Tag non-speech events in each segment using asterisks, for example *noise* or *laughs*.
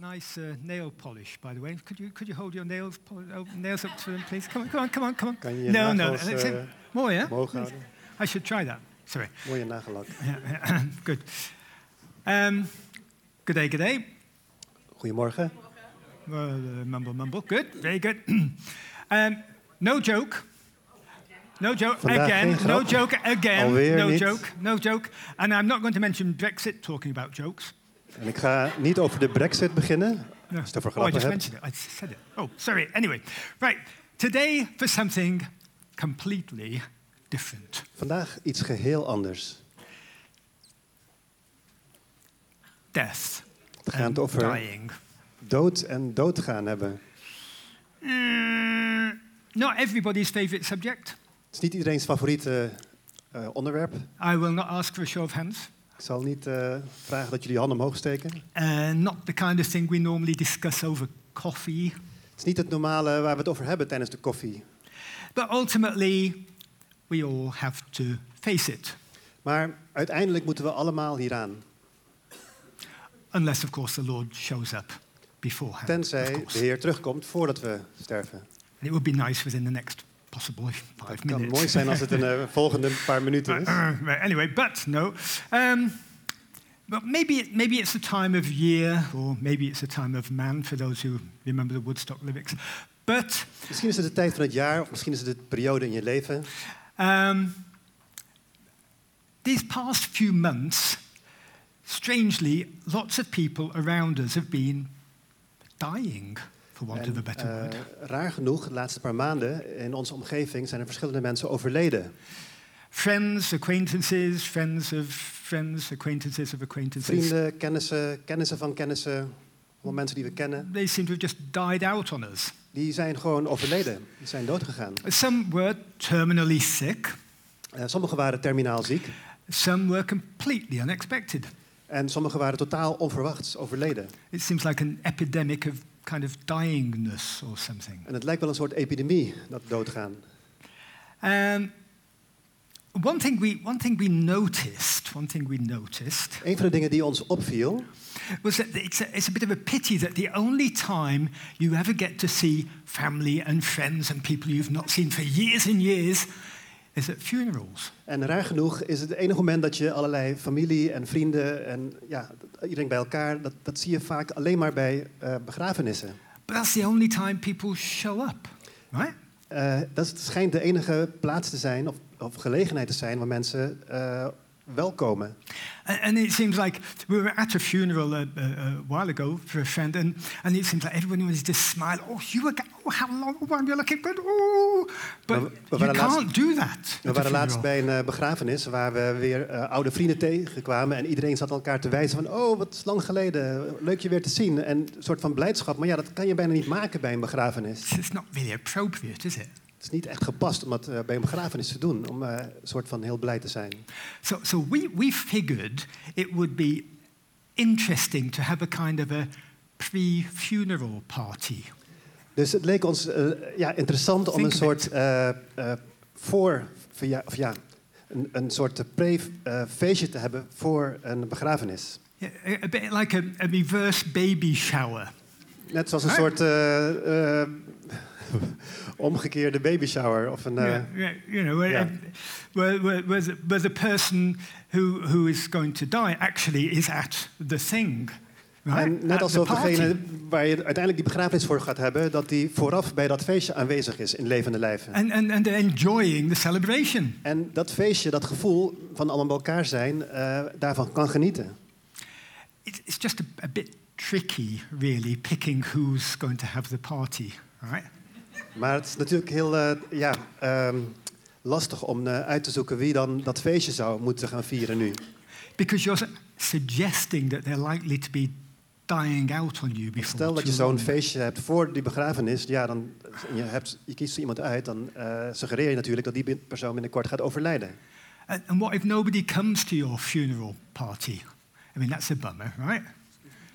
Nice uh, nail polish, by the way. Could you, could you hold your nails, poli- oh, nails up to them, please? Come on, come on, come on. Come on. Kan je je no, no. nagels, It's- eh, Mooi, hè? omhoog houden? I should try that. Sorry. *laughs* Mooie nagellak. Good. Um, good day, good day. Goedemorgen. Uh, mumble, mumble. Good, very good. *clears throat* um, no joke. No joke Vandaag again. geen No grap. joke again. Alweer no niet. joke. No joke. And I'm not going to mention Brexit talking about jokes. En ik ga niet over de brexit beginnen. Als je het over Oh, I grappen just hebt. mentioned it. I said it. Oh, sorry. Anyway, right. Today for something completely different. Vandaag iets geheel anders. Death. We gaan and het over dying. dood en doodgaan hebben. Het Mm, not everybody's favorite subject. is niet iedereen's favoriete eh, onderwerp. I will not ask for a show of hands. Ik zal niet eh, vragen dat jullie handen omhoog steken. Uh, not the kind of thing we normally discuss over coffee. Het is niet het normale waar we het over hebben tijdens de koffie. But ultimately, we all have to face it. Maar uiteindelijk moeten we allemaal hieraan. Unless, of course, the Lord shows up beforehand. Tenzij of de course. Heer terugkomt voordat we sterven. And it would be nice within the next possible Het five kan minutes. mooi zijn als het een *laughs* eh, volgende paar minuten is. uh, Right, anyway, but no. Um, but maybe, it- maybe it's a time of year, or maybe it's a time of man, for those who remember the Woodstock lyrics. But Misschien is het de tijd van het jaar, of misschien is het de periode in je leven. Um, these past few months, strangely, lots of people around us have been dying, for want of a En, better word. eh, raar genoeg, de laatste paar maanden in onze omgeving zijn er verschillende mensen overleden. Friends, acquaintances, friends of friends, acquaintances of acquaintances. Vrienden, kennissen, kennissen van kennissen, allemaal mensen die we kennen, They seem to have just died out on us. die zijn gewoon overleden. Die zijn doodgegaan. Some were terminally sick, Eh sommigen waren terminaal ziek some were completely unexpected. en sommigen waren totaal onverwachts overleden. It seems like an epidemic of kind of dyingness or something. En het lijkt wel een soort epidemie, dat doodgaan. Um, one thing we one thing we noticed, one thing we noticed Een van de dingen die ons opviel, was that it's a, it's a bit of a pity that the only time you ever get to see family and friends and people you've not seen for years and years is at funerals. en raar genoeg is het enige moment dat je allerlei familie en vrienden en ja, iedereen bij elkaar, dat, dat zie je vaak alleen maar bij eh, begrafenissen. But that's the only time people show up, right? Eh, dat is- schijnt de enige plaats te zijn, of, of gelegenheid te zijn, waar mensen eh, wel komen. And, and it seems like we were at a funeral a, a, a while ago for a friend, and, and it seems like everyone was just smiling. Oh, you were, g- oh, how long? Oh, you're looking good. Oh, but We- we you waren can't laatst- do that. We at a waren laatst funeral. bij een eh, begrafenis waar we weer eh, oude vrienden tegenkwamen. En iedereen zat elkaar te wijzen van, oh, wat is lang geleden. Leuk je weer te zien. En een soort van blijdschap. Maar ja, dat kan je bijna niet maken bij een begrafenis. It's not really appropriate, is it? Het is niet echt gepast om dat eh, bij een begrafenis te doen. Om eh, een soort van heel blij te zijn. So, so we, we figured it would be interesting to have a kind of a pre funeral party. Dus het leek ons eh, ja, interessant om Think een of soort eh, eh, voor, verja- of ja, een, een soort eh, pre-feestje te hebben voor een begrafenis. Yeah, A, a bit like a, a reverse baby shower. Net zoals een Hè? soort eh, *laughs* eh, omgekeerde baby shower of een. eh, Yeah, yeah, you know, where, Yeah. where, where, where, the, where the person who, who is going to die actually is at the thing. Right? En At net the alsof Ah, party. degene waar je uiteindelijk die begrafenis voor gaat hebben, dat die vooraf bij dat feestje aanwezig is in levende lijven. And, and, and they're enjoying the celebration. En dat feestje, dat gevoel van allemaal bij elkaar zijn, eh, daarvan kan genieten. It, it's just a, a bit tricky, really, picking who's going to have the party, right? Maar het is natuurlijk heel eh, ja, ehm, lastig om eh, uit te zoeken wie dan dat feestje zou moeten gaan vieren nu. Because you're su- suggesting that they're likely to be dying out on you before. Stel dat too je zo'n long. feestje hebt voor die begrafenis, ja, dan, en je, hebt, je kiest zo iemand uit, dan eh, suggereer je natuurlijk dat die persoon binnenkort gaat overlijden. And, and what if nobody comes to your funeral party? I mean, that's a bummer, right?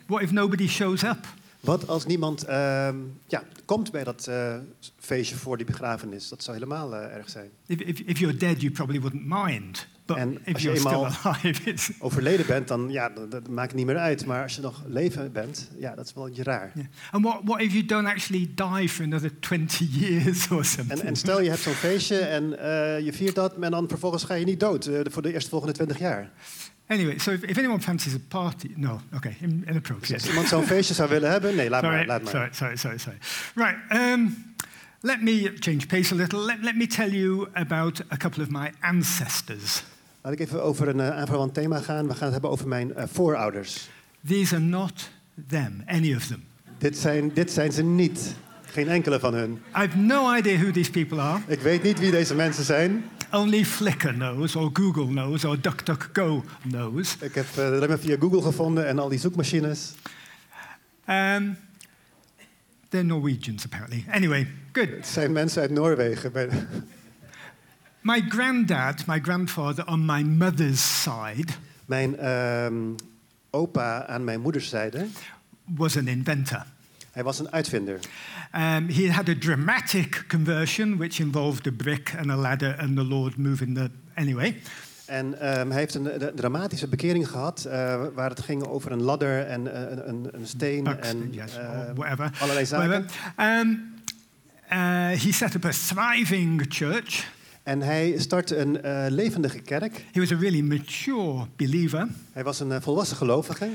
What if nobody shows up? Wat als niemand ehm, ja, komt bij dat eh, feestje voor die begrafenis? Dat zou helemaal eh, erg zijn. If, if, if you're dead, you probably wouldn't mind. But And if als je you're still eenmaal- alive, *laughs* it's. Overleden bent, dan ja, dat, dat maakt niet meer uit. Maar als je nog leven bent, ja, dat is wel een raar. Yeah. And what, what if you don't actually die for another 20 *laughs* years or something? En, en stel je hebt zo'n feestje en eh, je viert dat, en dan vervolgens ga je niet dood eh, voor de eerstvolgende 20 jaar. Anyway, so if, if anyone fancies a party, no, okay, in, Dus inappropriate. als iemand zo'n feestje zou willen hebben, nee, laat sorry, maar. Laat maar. sorry, sorry, sorry, sorry. Right, um, let me change pace a little. Let, let me tell you about a couple of my ancestors. Laat ik even over een eh, aanverwant thema gaan. We gaan het hebben over mijn eh, voorouders. These are not them, any of them. Dit zijn, dit zijn ze niet. Geen enkele van hun. I've no idea who these people are. Ik weet niet wie deze mensen zijn. Only Flickr knows, or Google knows, or DuckDuckGo knows. Ik heb eh, dat hebben we via Google gevonden en al die zoekmachines. Um, they're Norwegians, apparently. Anyway, good. Het zijn mensen uit Noorwegen. Bij- My granddad, my grandfather on my mother's side, Mijn ehm, opa aan mijn moederszijde, was an inventor. hij was een uitvinder. Um, he had a dramatic conversion, which involved a brick and a ladder and the Lord moving the. Anyway, En ehm, hij heeft een eh, dramatische bekering gehad, eh, waar het ging over een ladder en eh, een, een, een steen Buxton, en yes, ehm, or whatever. allerlei zaken. whatever. Um, uh, he set up a thriving church. En hij startte een eh, levendige kerk. He was a really mature believer, Hij was een eh, volwassen gelovige,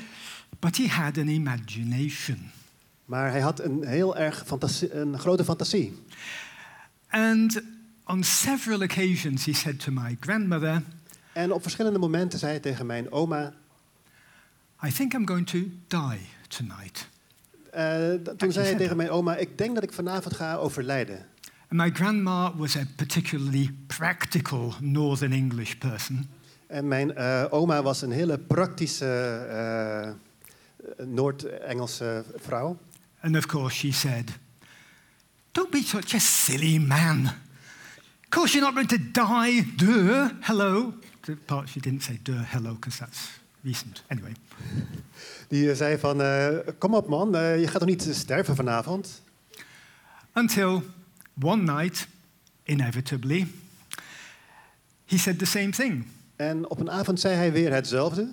but he had an imagination. maar hij had een heel erg fantasie, een grote fantasie. And on several occasions, he said to my grandmother, En op verschillende momenten zei hij tegen mijn oma, I think I'm going to die tonight. eh, d- toen zei hij zet tegen mijn oma, ik denk dat ik vanavond ga overlijden. And my grandma was a particularly practical Northern English person. En mijn eh, oma was een hele praktische eh, Noord-Engelse vrouw. And of course, she said, Don't be such a silly man. Of course, you're not going to die. Duh, hello. The part she didn't say duh, hello, because that's recent. Anyway. Die eh, zei van, eh, kom op man, eh, je gaat toch niet sterven vanavond? Until one night, inevitably, he said the same thing. En op een avond zei hij weer hetzelfde.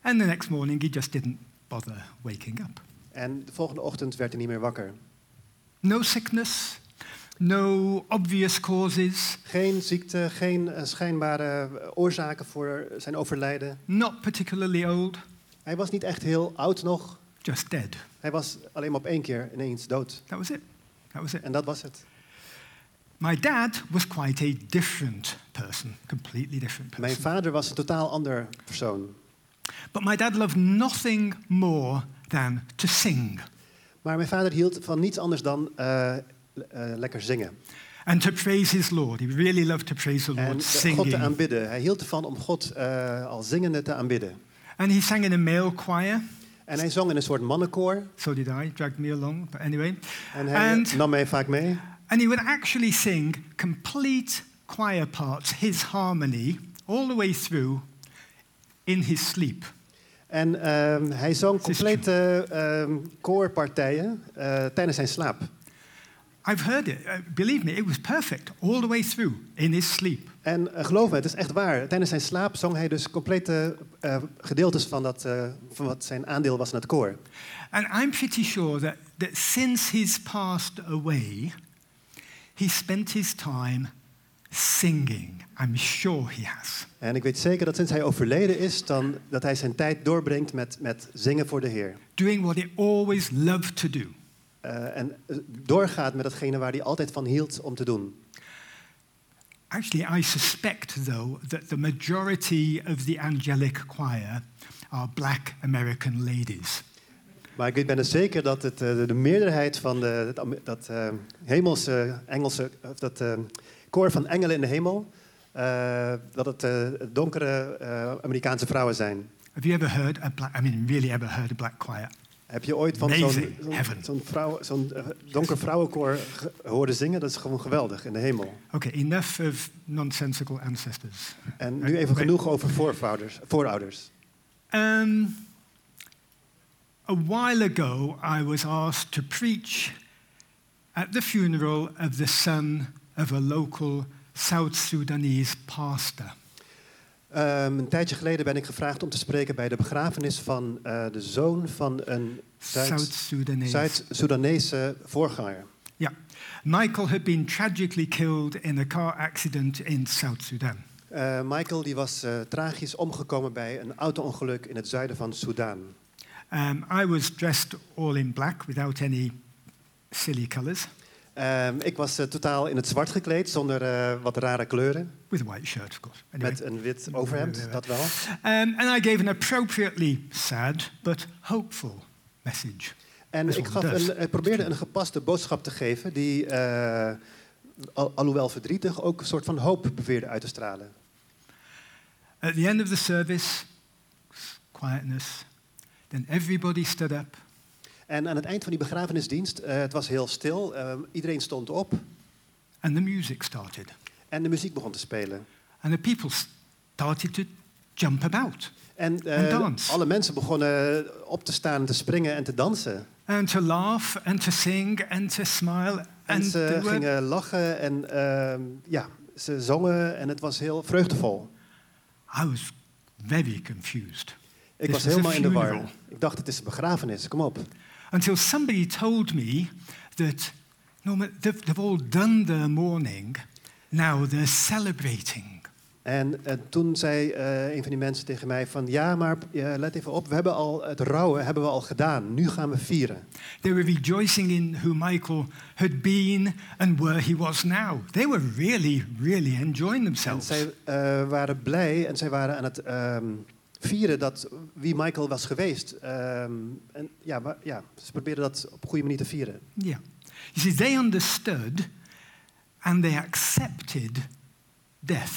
And the next morning, he just didn't bother waking up. En de volgende ochtend werd hij niet meer wakker. No sickness, no obvious causes, Geen ziekte, geen eh, schijnbare eh, oorzaken voor zijn overlijden. not particularly old, Hij was niet echt heel oud nog. just dead. Hij was alleen maar op één keer ineens dood. That was it. That was it. En dat was het. My dad was quite a different person, completely different Mijn person. vader was een totaal ander persoon. But my dad loved nothing more than to sing Maar mijn vader hield van niets anders dan eh, eh, lekker zingen. and to praise his Lord. He really loved to praise the En Lord, de- God te singing. aanbidden. Hij hield ervan om God eh, al zingende te aanbidden. And he sang in a male choir. En hij zong in een soort mannenkoor. So did I, dragged me along, but anyway. En hij And- nam mij vaak mee. And he would actually sing complete choir parts, his harmony, all the way through in his sleep. En ehm, hij zong Het is complete ehm, koorpartijen eh, tijdens zijn slaap. I've heard it. Uh, believe me, it was perfect all the way through in his sleep. En eh, geloof me, het is echt waar. Tijdens zijn slaap zong hij dus complete eh, gedeeltes van, dat, eh, van wat zijn aandeel was in het koor. And I'm pretty sure that, that since he's passed away, he spent his time singing. I'm sure he has. En ik weet zeker dat sinds hij overleden is, dan, dat hij zijn tijd doorbrengt met, met zingen voor de Heer. Doing what he always loved to do. Eh, en eh, doorgaat met datgene waar hij altijd van hield om te doen. Actually, I suspect, though, that the majority of the angelic choir are black American ladies. Maar ik weet- ben er zeker dat het, eh, de, de meerderheid van de, dat, am- dat eh, hemelse Engelse, of dat eh, koor van engelen in de hemel, eh, dat het eh, donkere eh, Amerikaanse vrouwen zijn. Have you ever heard a black, I mean, really ever heard a black choir? Heb je ooit van zo'n Amazing zo'n- heaven. zo'n vrouw- zo'n, eh, donker vrouwenkoor ge- horen zingen? Dat is gewoon geweldig in de hemel. Okay, enough of nonsensical ancestors. En nu even Oké. genoeg over voorvouders- voorouders. Um, a while ago, I was asked to preach at the funeral of the son of a local South Sudanese pastor. Ehm, een tijdje geleden ben ik gevraagd om te spreken bij de begrafenis van eh, de zoon van een Zuid- South Sudanese. Zuid-Soedanese voorganger. Yeah. Michael had been tragically killed in a car accident in South Sudan. Eh, Michael die was eh, tragisch omgekomen bij een auto-ongeluk in het zuiden van Soedan. Um, I was dressed all in black without any silly colors, Ehm, ik was eh, totaal in het zwart gekleed, zonder eh, wat rare kleuren. with a white shirt, of course. Anyway. Met een wit overhemd, dat wel. Um, and I gave an appropriately sad but hopeful message. En Best ik, wel gaf modest. een, ik probeerde een gepaste boodschap te geven die, eh, al- alhoewel verdrietig, ook een soort van hoop probeerde uit te stralen. At the end of the service, quietness. Then everybody stood up En aan het eind van die begrafenisdienst, eh, het was heel stil, eh, iedereen stond op and the music started. en de muziek begon te spelen. And the people started to jump about En eh, En dans. alle mensen begonnen op te staan, te springen en te dansen. and to laugh and to sing and to smile. En And ze there were gingen lachen en eh, ja, ze zongen en het was heel vreugdevol. I was very confused Ik This is was a helemaal in de funeral. war. Ik dacht, het is een begrafenis, kom op. until somebody told me that Norman, they've, they've all done their mourning, now they're celebrating. En eh, toen zei eh, een van die mensen tegen mij van... ja, maar eh, let even op, we hebben al het rouwen hebben we al gedaan. Nu gaan we vieren. They were rejoicing in who Michael had been and where he was now. They were really, really enjoying En themselves. zij eh, waren blij en zij waren aan het ehm, vieren dat wie Michael was geweest. Ehm, en ja, maar, ja, ze probeerden dat op een goede manier te vieren. Yeah. You see, they understood and they accepted death,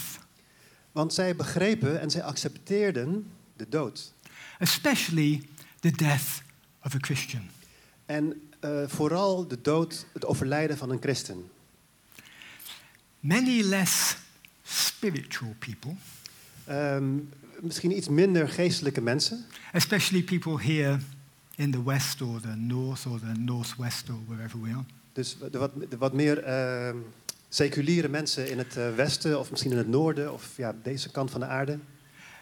Want zij begrepen en zij accepteerden de dood. especially the death of a Christian. En eh, vooral de dood, het overlijden van een christen. Many less spiritual people, Ehm, misschien iets minder geestelijke mensen... especially people here in the West or the North or the Northwest or wherever we are, Dus de wat, de wat meer ehm, seculiere mensen in het eh, westen of misschien in het noorden of ja, deze kant van de aarde.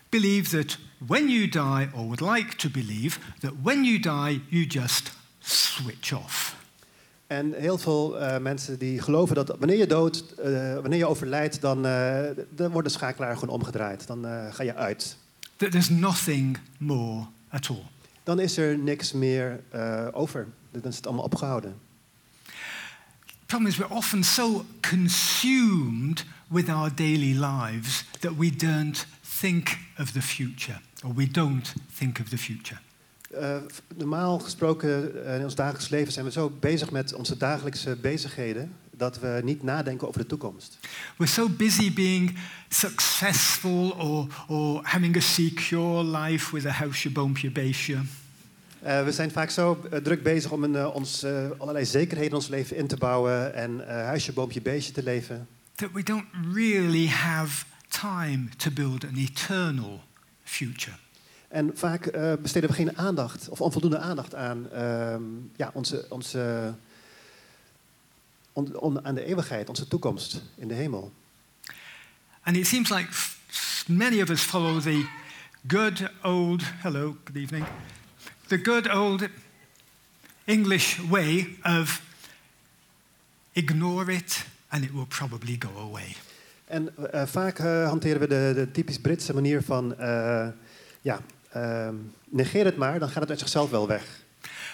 believe that when you die, or would like to believe, that when you die, you just switch off. En heel veel eh, mensen die geloven dat wanneer je dood, eh, wanneer je overlijdt, dan, eh, dan wordt de schakelaar gewoon omgedraaid. Dan eh, ga je uit. That there's nothing more at all. Dan is er niks meer eh, over. Dan is het allemaal opgehouden. problem is we're often so consumed with our daily lives that we don't think of the future or we don't think of the future Eh, normaal gesproken eh, in ons dagelijks leven zijn we zo bezig met onze dagelijkse bezigheden dat we niet nadenken over de toekomst. we're so busy being successful or, or having a secure life with a house, your boompje, your base, your- Eh, we zijn vaak zo eh, druk bezig om een, eh, ons, eh, allerlei zekerheden in ons leven in te bouwen en eh, huisje, boompje, beestje te leven. that we don't really have time to build an eternal future. En vaak eh, besteden we geen aandacht of onvoldoende aandacht aan, ehm, ja, onze, onze, on- on- aan de eeuwigheid, onze toekomst in de hemel. And it seems like f- many of us follow the good old, hello, good evening, the good old English way of ignore it and it will probably go away. En eh, vaak eh, hanteren we de, de typisch Britse manier van, eh, ja, ehm, negeer het maar, dan gaat het uit zichzelf wel weg.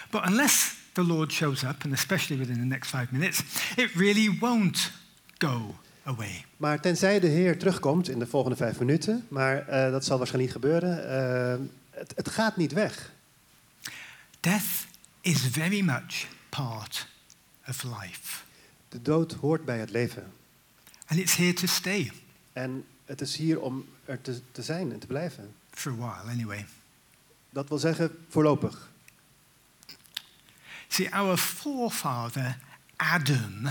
But unless the Lord shows up, and especially within the next five minutes, it really won't go away. Maar tenzij de Heer terugkomt in de volgende vijf minuten, maar eh, dat zal waarschijnlijk niet gebeuren, eh, het, het gaat niet weg. Death is very much part of life, De dood hoort bij het leven. and it's here to stay En het is hier om er te, te zijn en te blijven. for a while anyway. Dat wil zeggen voorlopig. See, our forefather Adam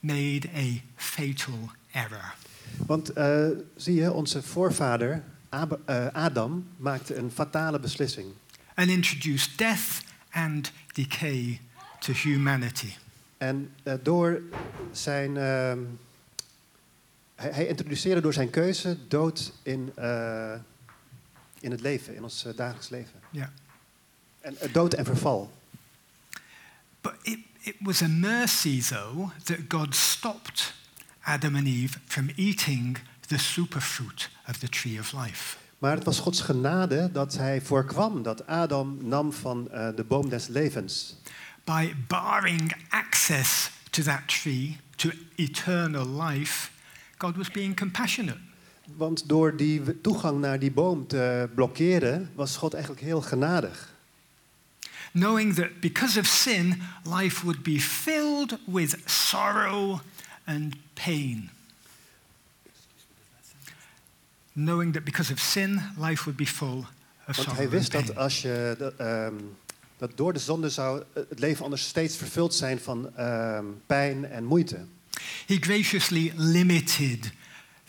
made a fatal error. Want eh, zie je, onze voorvader Ab- eh, Adam maakte een fatale beslissing. and introduced death and decay to humanity. En eh, door zijn. ehm, hij, hij introduceerde door zijn keuze dood in, eh, in het leven, in ons eh, dagelijks leven. Yeah. En, eh, dood en verval. But it, it was a mercy, though, that God stopped Adam and Eve from eating the superfruit of the tree of life. Maar het was Gods genade dat hij voorkwam dat Adam nam van eh, de boom des levens. By barring access to that tree, to eternal life, God was being compassionate. Want door die toegang naar die boom te blokkeren, was God eigenlijk heel genadig. knowing that because of sin, life would be filled with sorrow and pain. Knowing that because of sin, life would be full of Want sorrow hij wist and dat pain. als je dat, ehm, dat door de zonde zou het leven anders steeds vervuld zijn van ehm, pijn en moeite. He graciously limited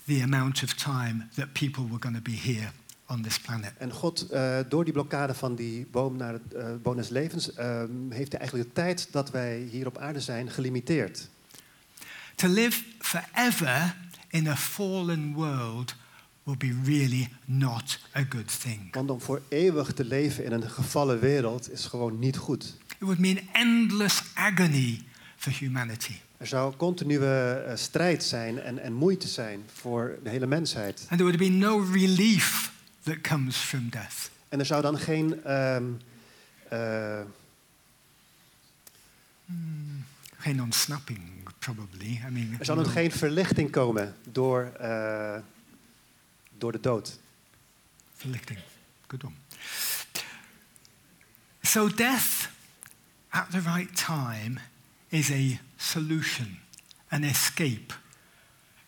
the amount of time that people were going to be here on this planet. En God, eh, door die blokkade van die boom naar het eh, boom des levens, ehm, heeft hij eigenlijk de tijd dat wij hier op aarde zijn gelimiteerd. To live forever in a fallen world will be really not a good thing. Want om voor eeuwig te leven in een gevallen wereld is gewoon niet goed. It would mean endless agony for humanity. Er zou continue eh, strijd zijn en, en moeite zijn voor de hele mensheid. And there would be no relief that comes from death. En er zou dan geen ehm, eh, Geen ontsnapping, probably. I mean, Er zou dan no. geen verlichting komen door, eh, door de dood. Verlichting. Good one. So, death at the right time is a solution, an escape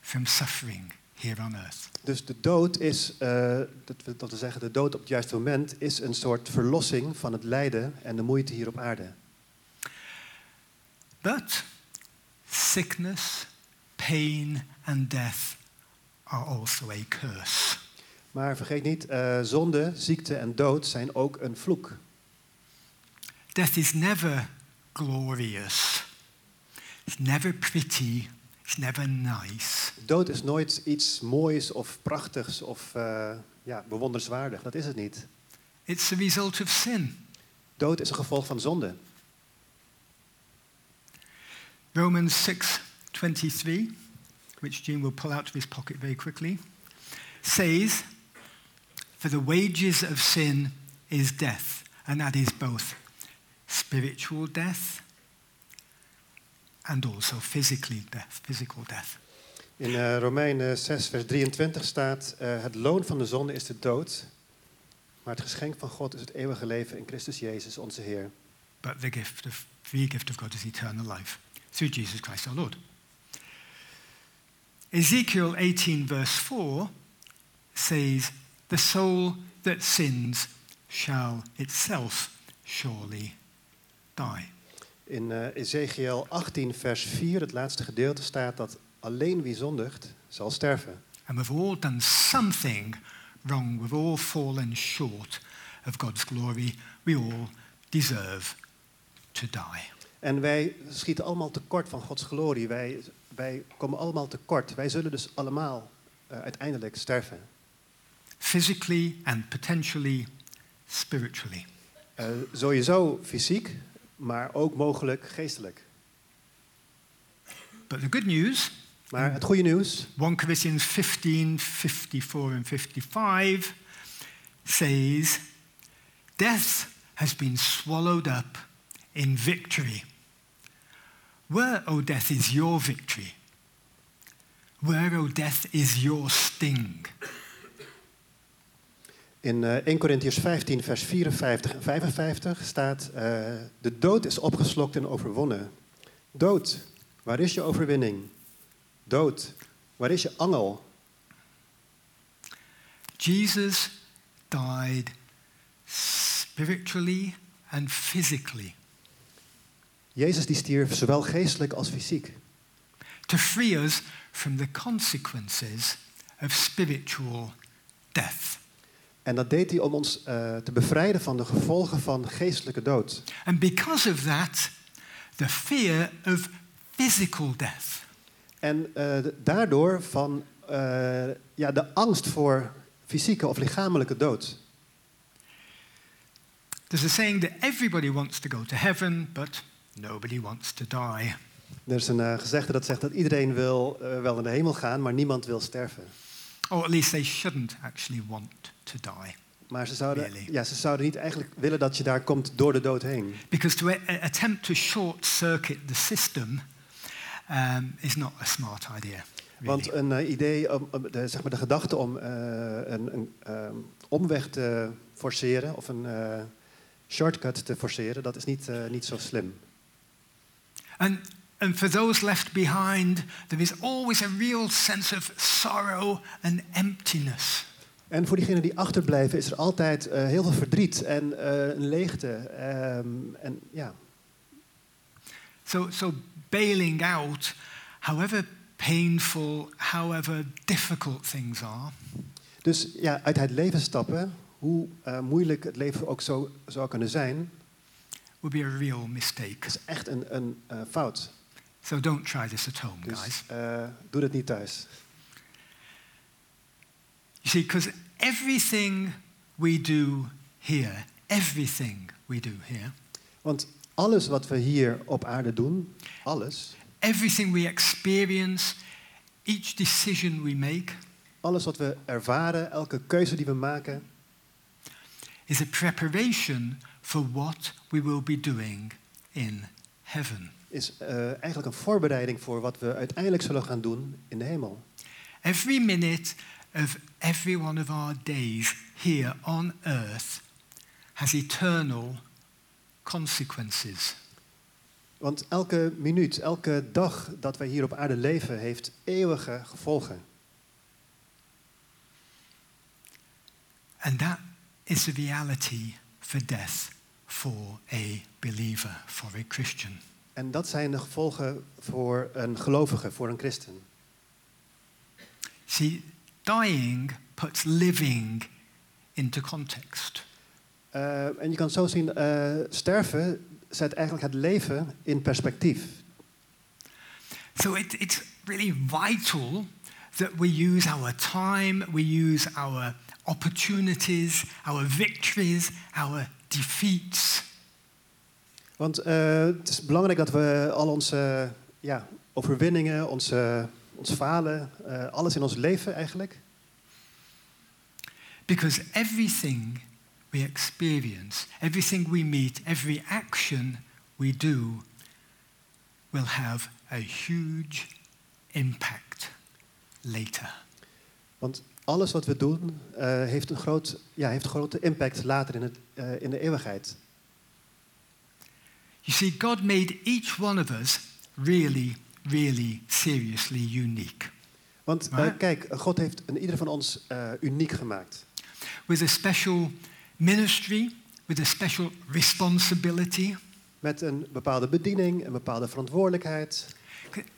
from suffering here on earth. Dus de dood is, eh, dat, we, dat we zeggen, de dood op het juiste moment is een soort verlossing van het lijden en de moeite hier op aarde. But sickness, pain, and death are also a curse. Maar vergeet niet, eh, zonde, ziekte en dood zijn ook een vloek. Death is never glorious. It's never pretty. It's never nice. Dood is nooit iets moois of prachtigs of eh, ja, bewonderenswaardig. Dat is het niet. It's the result of sin. Dood is een gevolg van zonde. Romans 6:23, which Gene will pull out of his pocket very quickly, says, "For the wages of sin is death, and that is both spiritual death and also physically death, physical death." In eh Romeinen 6, vers 23 staat: eh, Het loon van de zonde is de dood. Maar het geschenk van God is het eeuwige leven in Christus Jezus, onze Heer. but the gift of the gift of God is eternal life through Jesus Christ our Lord. Ezekiel 18 verse 4 says, "The soul that sins shall itself surely die." In eh Ezekiel 18, vers 4, het laatste gedeelte, staat dat alleen wie zondigt zal sterven. And we've all done something wrong. We've all fallen short of God's glory. We all deserve to die. En wij schieten allemaal tekort van Gods glorie. Wij, wij komen allemaal tekort. Wij zullen dus allemaal eh, uiteindelijk sterven. Physically and potentially spiritually. Eh, sowieso fysiek, maar ook mogelijk geestelijk. But the good news Maar het goede nieuws 1 Corinthians 15, 54 and 55 says, Death has been swallowed up in victory. Where, O death, is your victory? Where, O death, is your sting? In eh, 1 Corinthians 15, vers 54 en 55 staat: eh, De dood is opgeslokt en overwonnen. Dood, waar is je overwinning? Dood, waar is je angel? Jesus died spiritually and physically Jezus die stierf zowel geestelijk als fysiek. to free us from the consequences of spiritual death. En dat deed hij om ons eh, te bevrijden van de gevolgen van geestelijke dood. And because of that, the fear of physical death. En eh, daardoor van eh, ja, de angst voor fysieke of lichamelijke dood. There's a saying that everybody wants to go to heaven, but nobody wants to die. Er is een eh, gezegde dat zegt dat iedereen wil eh, wel naar de hemel gaan, maar niemand wil sterven. Or at least they shouldn't actually want to die. Maar ze zouden, Really? ja, ze zouden niet eigenlijk willen dat je daar komt door de dood heen. Because to a- attempt to short circuit the system um, is not a smart idea. really. Want een eh, idee, om, om de, zeg maar de gedachte om eh, een, een ehm, omweg te forceren of een eh, shortcut te forceren, dat is niet, eh, niet zo slim. And, and for those left behind, there is always a real sense of sorrow and emptiness. En voor diegenen die achterblijven is er altijd eh, heel veel verdriet en eh, een leegte. ehm, en ja, So, so bailing out, however painful, however difficult things are, Dus ja, uit het leven stappen, hoe eh, moeilijk het leven ook zo zou kunnen zijn, would be a real mistake. is echt een, een eh, fout. So don't try this at home, guys. Dus eh, doe dat niet thuis. You see, because everything we do here, everything we do here, Want alles wat we hier op aarde doen, alles, everything we experience, each decision we make alles wat we ervaren, elke keuze die we maken, is a preparation for what we will be doing in heaven. is eh, eigenlijk een voorbereiding voor wat we uiteindelijk zullen gaan doen in de hemel. Every minute of every one of our days here on earth has eternal consequences. Want elke minuut, elke dag dat wij hier op aarde leven, heeft eeuwige gevolgen. And that is the reality for death for a believer, for a Christian. En dat zijn de gevolgen voor een gelovige, voor een christen. See, dying puts living into context. Eh, en je kan zo zien, eh, sterven zet eigenlijk het leven in perspectief. So it, it's really vital that we use our time, we use our opportunities, our victories, our defeats Want eh, het is belangrijk dat we al onze ja, overwinningen, onze, ons falen, eh, alles in ons leven eigenlijk. because everything we experience, everything we meet, every action we do will have a huge impact later. Want alles wat we doen eh, heeft, een groot, ja, heeft een grote impact later in, het, eh, in de eeuwigheid. You see, God made each one of us really, really seriously unique. Want eh, Maar- kijk, God heeft een ieder van ons eh, uniek gemaakt. with a special ministry, with a special responsibility. Met een bepaalde bediening, een bepaalde verantwoordelijkheid.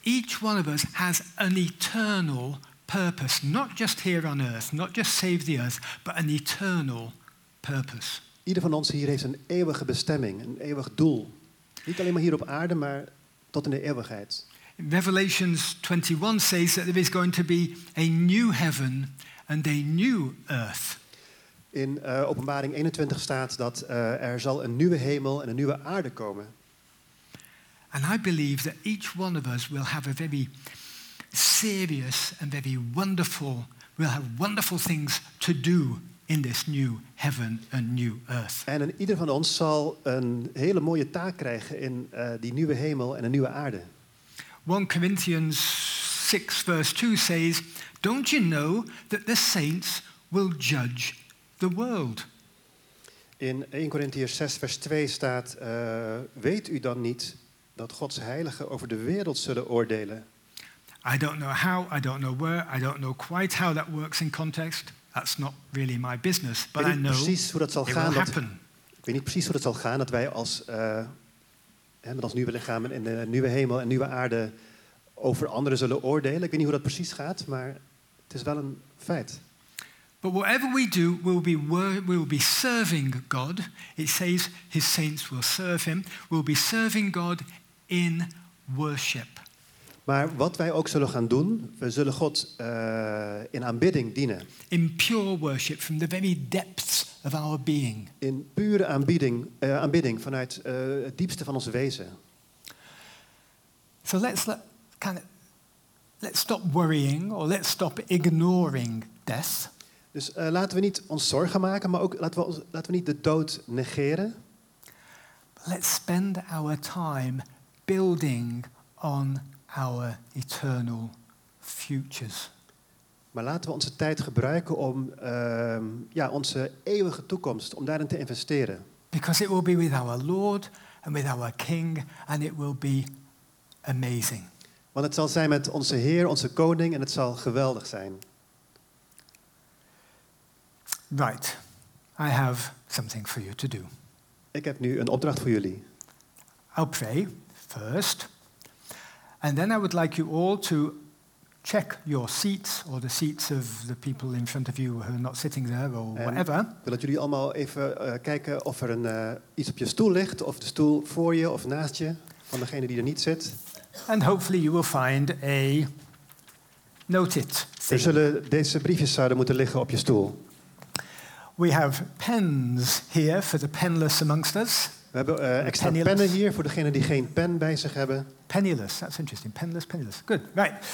Each one of us has an eternal purpose, not just here on earth, not just save the earth, but an eternal purpose. Ieder van ons hier heeft een eeuwige bestemming, een eeuwig doel. Niet alleen maar hier op aarde, maar tot in de eeuwigheid. Revelations 21 says that there is going to be a new heaven and a new earth. In eh, Openbaring 21 staat dat eh, er zal een nieuwe hemel en een nieuwe aarde komen. And I believe that each one of us will have a very serious and very wonderful, will have wonderful things to do in this new heaven and new earth. En een ieder van ons zal een hele mooie taak krijgen in eh, die nieuwe hemel en een nieuwe aarde. 1 Corinthians 6, verse 2 says, Don't you know that the saints will judge the world? In 1 Corinthiërs 6, vers 2 staat: eh, Weet u dan niet dat Gods heiligen over de wereld zullen oordelen? I don't know how, I don't know where, I don't know quite how that works in context. That's not really my business, Ik but I weet niet know it precies hoe dat zal will gaan. Dat, happen. ik weet niet precies hoe dat zal gaan dat wij als, eh, hè, met ons nieuwe lichaam en de nieuwe hemel en nieuwe aarde over anderen zullen oordelen. Ik weet niet hoe dat precies gaat, maar het is wel een feit. But whatever we do, we'll be, wor- we'll be serving God. It says his saints will serve him. We'll be serving God in worship. Maar wat wij ook zullen gaan doen, we zullen God eh, in aanbidding dienen. in pure worship from the very depths of our being. In pure aanbidding, eh, aanbidding vanuit eh, het diepste van ons wezen. So let's let, kind of let's stop worrying or let's stop ignoring death. Dus eh, laten we niet ons zorgen maken, maar ook laten we, ons- laten we niet de dood negeren. Let's spend our time building on our eternal futures. Maar laten we onze tijd gebruiken om ehm, ja, onze eeuwige toekomst, om daarin te investeren. Because it will be with our Lord and with our King, and it will be amazing. Want het zal zijn met onze Heer, onze Koning en het zal geweldig zijn. Right, I have something for you to do. Ik heb nu een opdracht voor jullie. I'll pray first, and then I would like you all to check your seats or the seats of the people in front of you who are not sitting there or Um, whatever. Ik wil dat jullie allemaal even eh, kijken of er een, eh, iets op je stoel ligt, of de stoel voor je of naast je, van degene die er niet zit. And hopefully you will find a note it. Er thing. zullen deze briefjes zouden moeten liggen op je stoel. We have pens here for the penless amongst us. We hebben eh, extra Penniless. pennen hier voor degenen die geen pen bij zich hebben. Penniless, that's interesting. Penless, penniless. Good, right.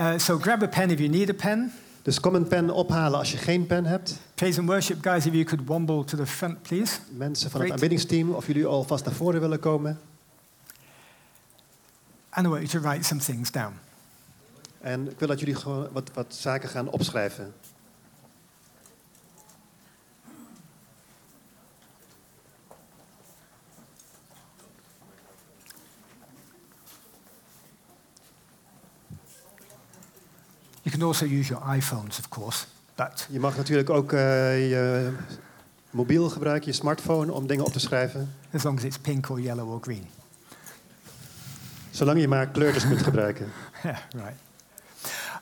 Uh, so grab a pen if you need a pen. Dus kom een pen ophalen als je geen pen hebt. Praise and worship, guys, if you could womble to the front, please. Mensen van Great. het aanbiddingsteam, of jullie alvast naar voren willen komen. And I want you to write some things down. En ik wil dat jullie gewoon wat, wat zaken gaan opschrijven. You can also use your iPhones, of course, but Je mag natuurlijk ook eh, je mobiel gebruiken, je smartphone, om dingen op te schrijven. as long as it's pink or yellow or green. *laughs* Zolang je maar kleurtjes kunt gebruiken. Yeah, right.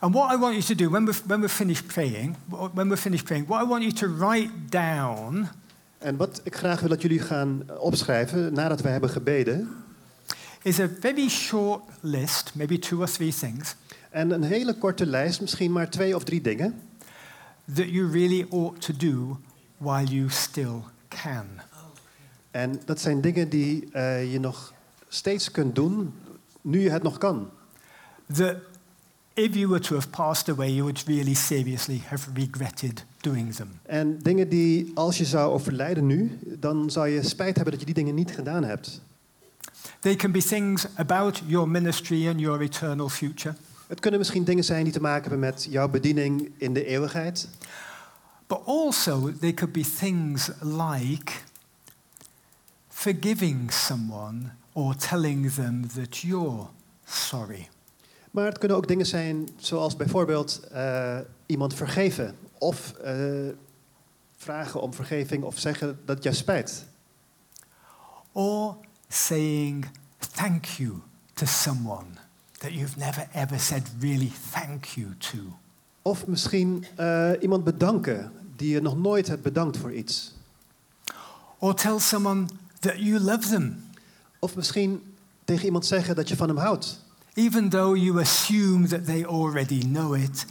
And what I want you to do when we're, when we're finished praying, when we're finished praying, what I want you to write down En wat ik graag wil dat jullie gaan eh, opschrijven nadat wij hebben gebeden. is a very short list, maybe two or three things, En een hele korte lijst, misschien maar twee of drie dingen. that you really ought to do while you still can. En dat zijn dingen die eh, je nog steeds kunt doen, nu je het nog kan. That if you were to have passed away, you would really seriously have regretted doing them. En dingen die, als je zou overlijden nu, dan zou je spijt hebben dat je die dingen niet gedaan hebt. They can be things about your ministry and your eternal future. Het kunnen misschien dingen zijn die te maken hebben met jouw bediening in de eeuwigheid. But also, they could be things like forgiving someone or telling them that you're sorry. Maar het kunnen ook dingen zijn zoals bijvoorbeeld eh, iemand vergeven. Of eh, vragen om vergeving of zeggen dat het jou spijt. Or saying thank you to someone that you've never ever said really thank you to. Of misschien eh, iemand bedanken die je nog nooit hebt bedankt voor iets. Or tell someone that you love them, Of misschien tegen iemand zeggen dat je van hem houdt. even though you assume that they already know it.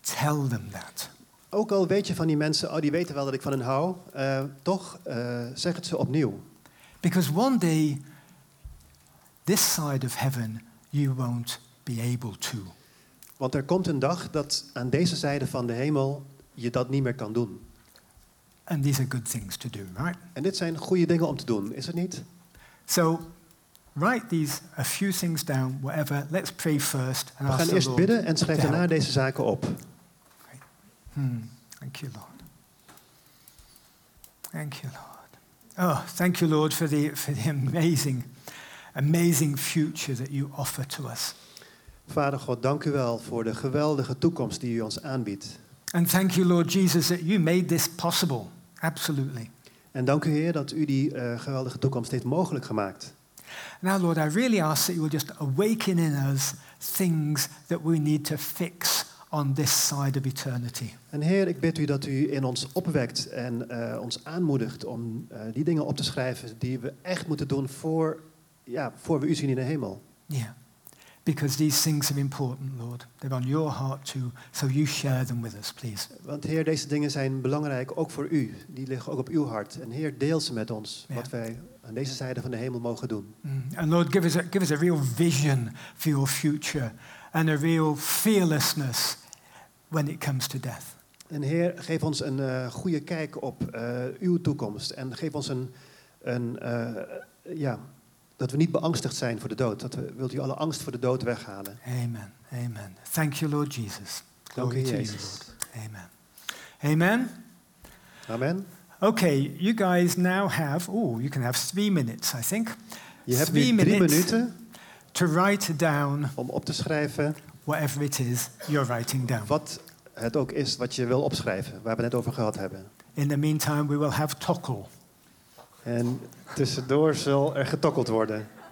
Tell them that. Ook al weet je van die mensen, oh die weten wel dat ik van hen hou, eh, toch eh, zeg het ze opnieuw. Because one day, this side of heaven, you won't be able to. Want er komt een dag dat aan deze zijde van de hemel je dat niet meer kan doen. And these are good things to do, right? En dit zijn goede dingen om te doen, is het niet? So write these a few things down, whatever. Let's pray first and We gaan ask the eerst Lord. bidden en schrijf te daarna helpen. deze zaken op. Hmm. Thank you, Lord. Thank you, Lord. Oh, thank you, Lord, for the, for the amazing, amazing future that you offer to us. Vader God, dank u wel voor de geweldige toekomst die u ons aanbiedt. And thank you, Lord Jesus, that you made this possible. Absolutely. En dank u Heer dat u die eh, geweldige toekomst heeft mogelijk gemaakt. Now, Lord, I really ask that you will just awaken in us things that we need to fix on this side of eternity. En Heer, ik bid u dat u in ons opwekt en eh, ons aanmoedigt om eh, die dingen op te schrijven die we echt moeten doen voor, ja, voor we u zien in de hemel. Yeah. Because these things are important, Lord. They're on your heart too. So you share them with us, please. Want Heer, deze dingen zijn belangrijk ook voor u. Die liggen ook op uw hart. En Heer, deel ze met ons Ja. wat wij aan deze zijde van de hemel mogen doen. Mm. And Lord, give us, a, give us a real vision for your future and a real fearlessness when it comes to death. En Heer, geef ons een eh, goede kijk op eh, uw toekomst. En geef ons een, een eh, ja, dat we niet beangstigd zijn voor de dood. Dat we, wilt u alle angst voor de dood weghalen. Amen. Amen. Thank you, Lord Jesus. Dank u, Glory to you, Jezus. Lord. Amen. Amen. Amen. Okay, you guys now have, oh, you can have three minutes, I think, Je hebt Three nu drie minutes. minuten to write down om op te schrijven whatever it is you're writing down. wat het ook is wat je wil opschrijven. Waar we het net over gehad hebben. In the meantime, we will have Tokkel. En tussendoor zal er getokkeld worden.